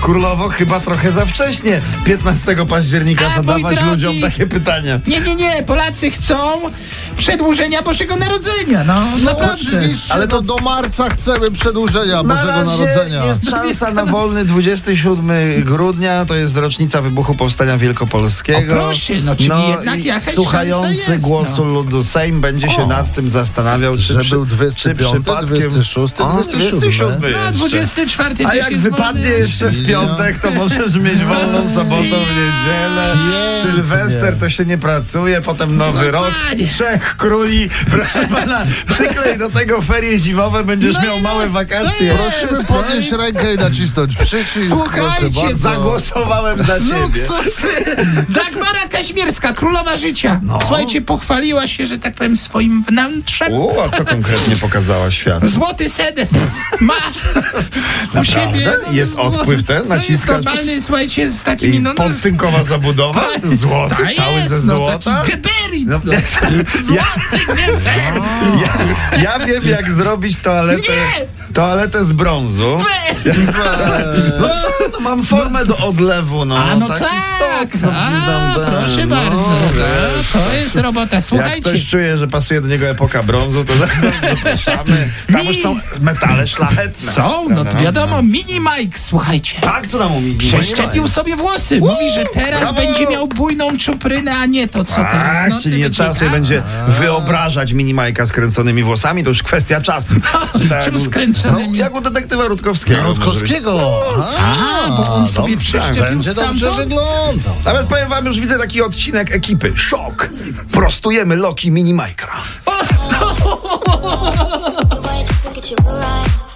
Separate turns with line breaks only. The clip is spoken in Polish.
Królowo, chyba trochę za wcześnie 15 października
A, mój
zadawać
drogi.
ludziom takie pytania.
Nie, nie, nie, Polacy chcą przedłużenia Bożego Narodzenia, no, naprawdę.
Oczywiście, ale to do marca chcemy przedłużenia
Na
Bożego
razie
Narodzenia.
jest szansa na wolny 27 grudnia, to jest rocznica wybuchu Powstania Wielkopolskiego.
O, proszę, no, czyli jednak
i
jakaś szansa
Słuchający
jest, no.
głosu ludu Sejm będzie się nad tym zastanawiał, czy,
Że
przy,
był
czy
25,
przypadkiem...
26,
O,
27.
27
No, a
jeszcze.
24
A
też
jak
jest
wypadnie
wolny.
jeszcze w piątek, to możesz mieć wolną sobotą, niedzielę.
Pięknie.
Sylwester to się nie pracuje, potem
No
nowy rok.
Dokładnie.
Trzech króli. Proszę pana, przyklej do tego ferie zimowe, będziesz
No i
miał
no,
małe
to
wakacje.
jest.
Musimy podnieść rękę i nacisnąć przycisk.
Słuchajcie,
proszę bardzo.
Zagłosowałem
No,
za ciebie.
Luksusy. Dagmara Kaźmierska, królowa życia.
No.
Słuchajcie, pochwaliła się, że tak powiem, swoim wnętrzem.
U, a co konkretnie pokazała świat?
Złoty sedes ma u siebie.
Jest odpływ ten?
Naciska.
Naciskasz?
jest normalny, słuchajcie, z
I
takimi... No, no,
podtynkowa zabudowa? Złoty,
Ta
cały
jest,
ze
No,
złota?
taki geberit.
No, ja, No. ja, ja wiem, jak zrobić toaletę,
Nie!
toaletę z brązu.
Be-
No co, no mam formę do odlewu, no.
Eee. A no
taki
tak,
stok, no,
a,
tam, tam,
proszę
no,
bardzo,
wiesz. tak
no, to jest robota.
Jak
Słuchajcie,
ktoś czuje, że pasuje do niego epoka brązu, to zapraszamy. Tam już są metale szlachetne.
są, no to wiadomo, mini Mike, słuchajcie.
Tak, co tam mówi?
Przeszczepił sobie włosy. Mówi, że teraz
brawo!
będzie miał bujną czuprynę, a nie to, co teraz.
Tak,
No, ty
czyli nie
będzie-
trzeba sobie
a,
będzie wyobrażać minimajka skręconymi włosami, to już kwestia czasu. Czy tak
Czemu
jak u-
skręcony?
No, Jak u detektywa Rutkowskiego.
No, Rutkowskiego.
A, bo on sobie przeszczepił
Będzie dobrze
stamtąd.
wyglądał.
Nawet powiem wam, już widzę taki odcinek ekipy. Szok! Prostujemy Loki Minimajka.
Look at you, alright.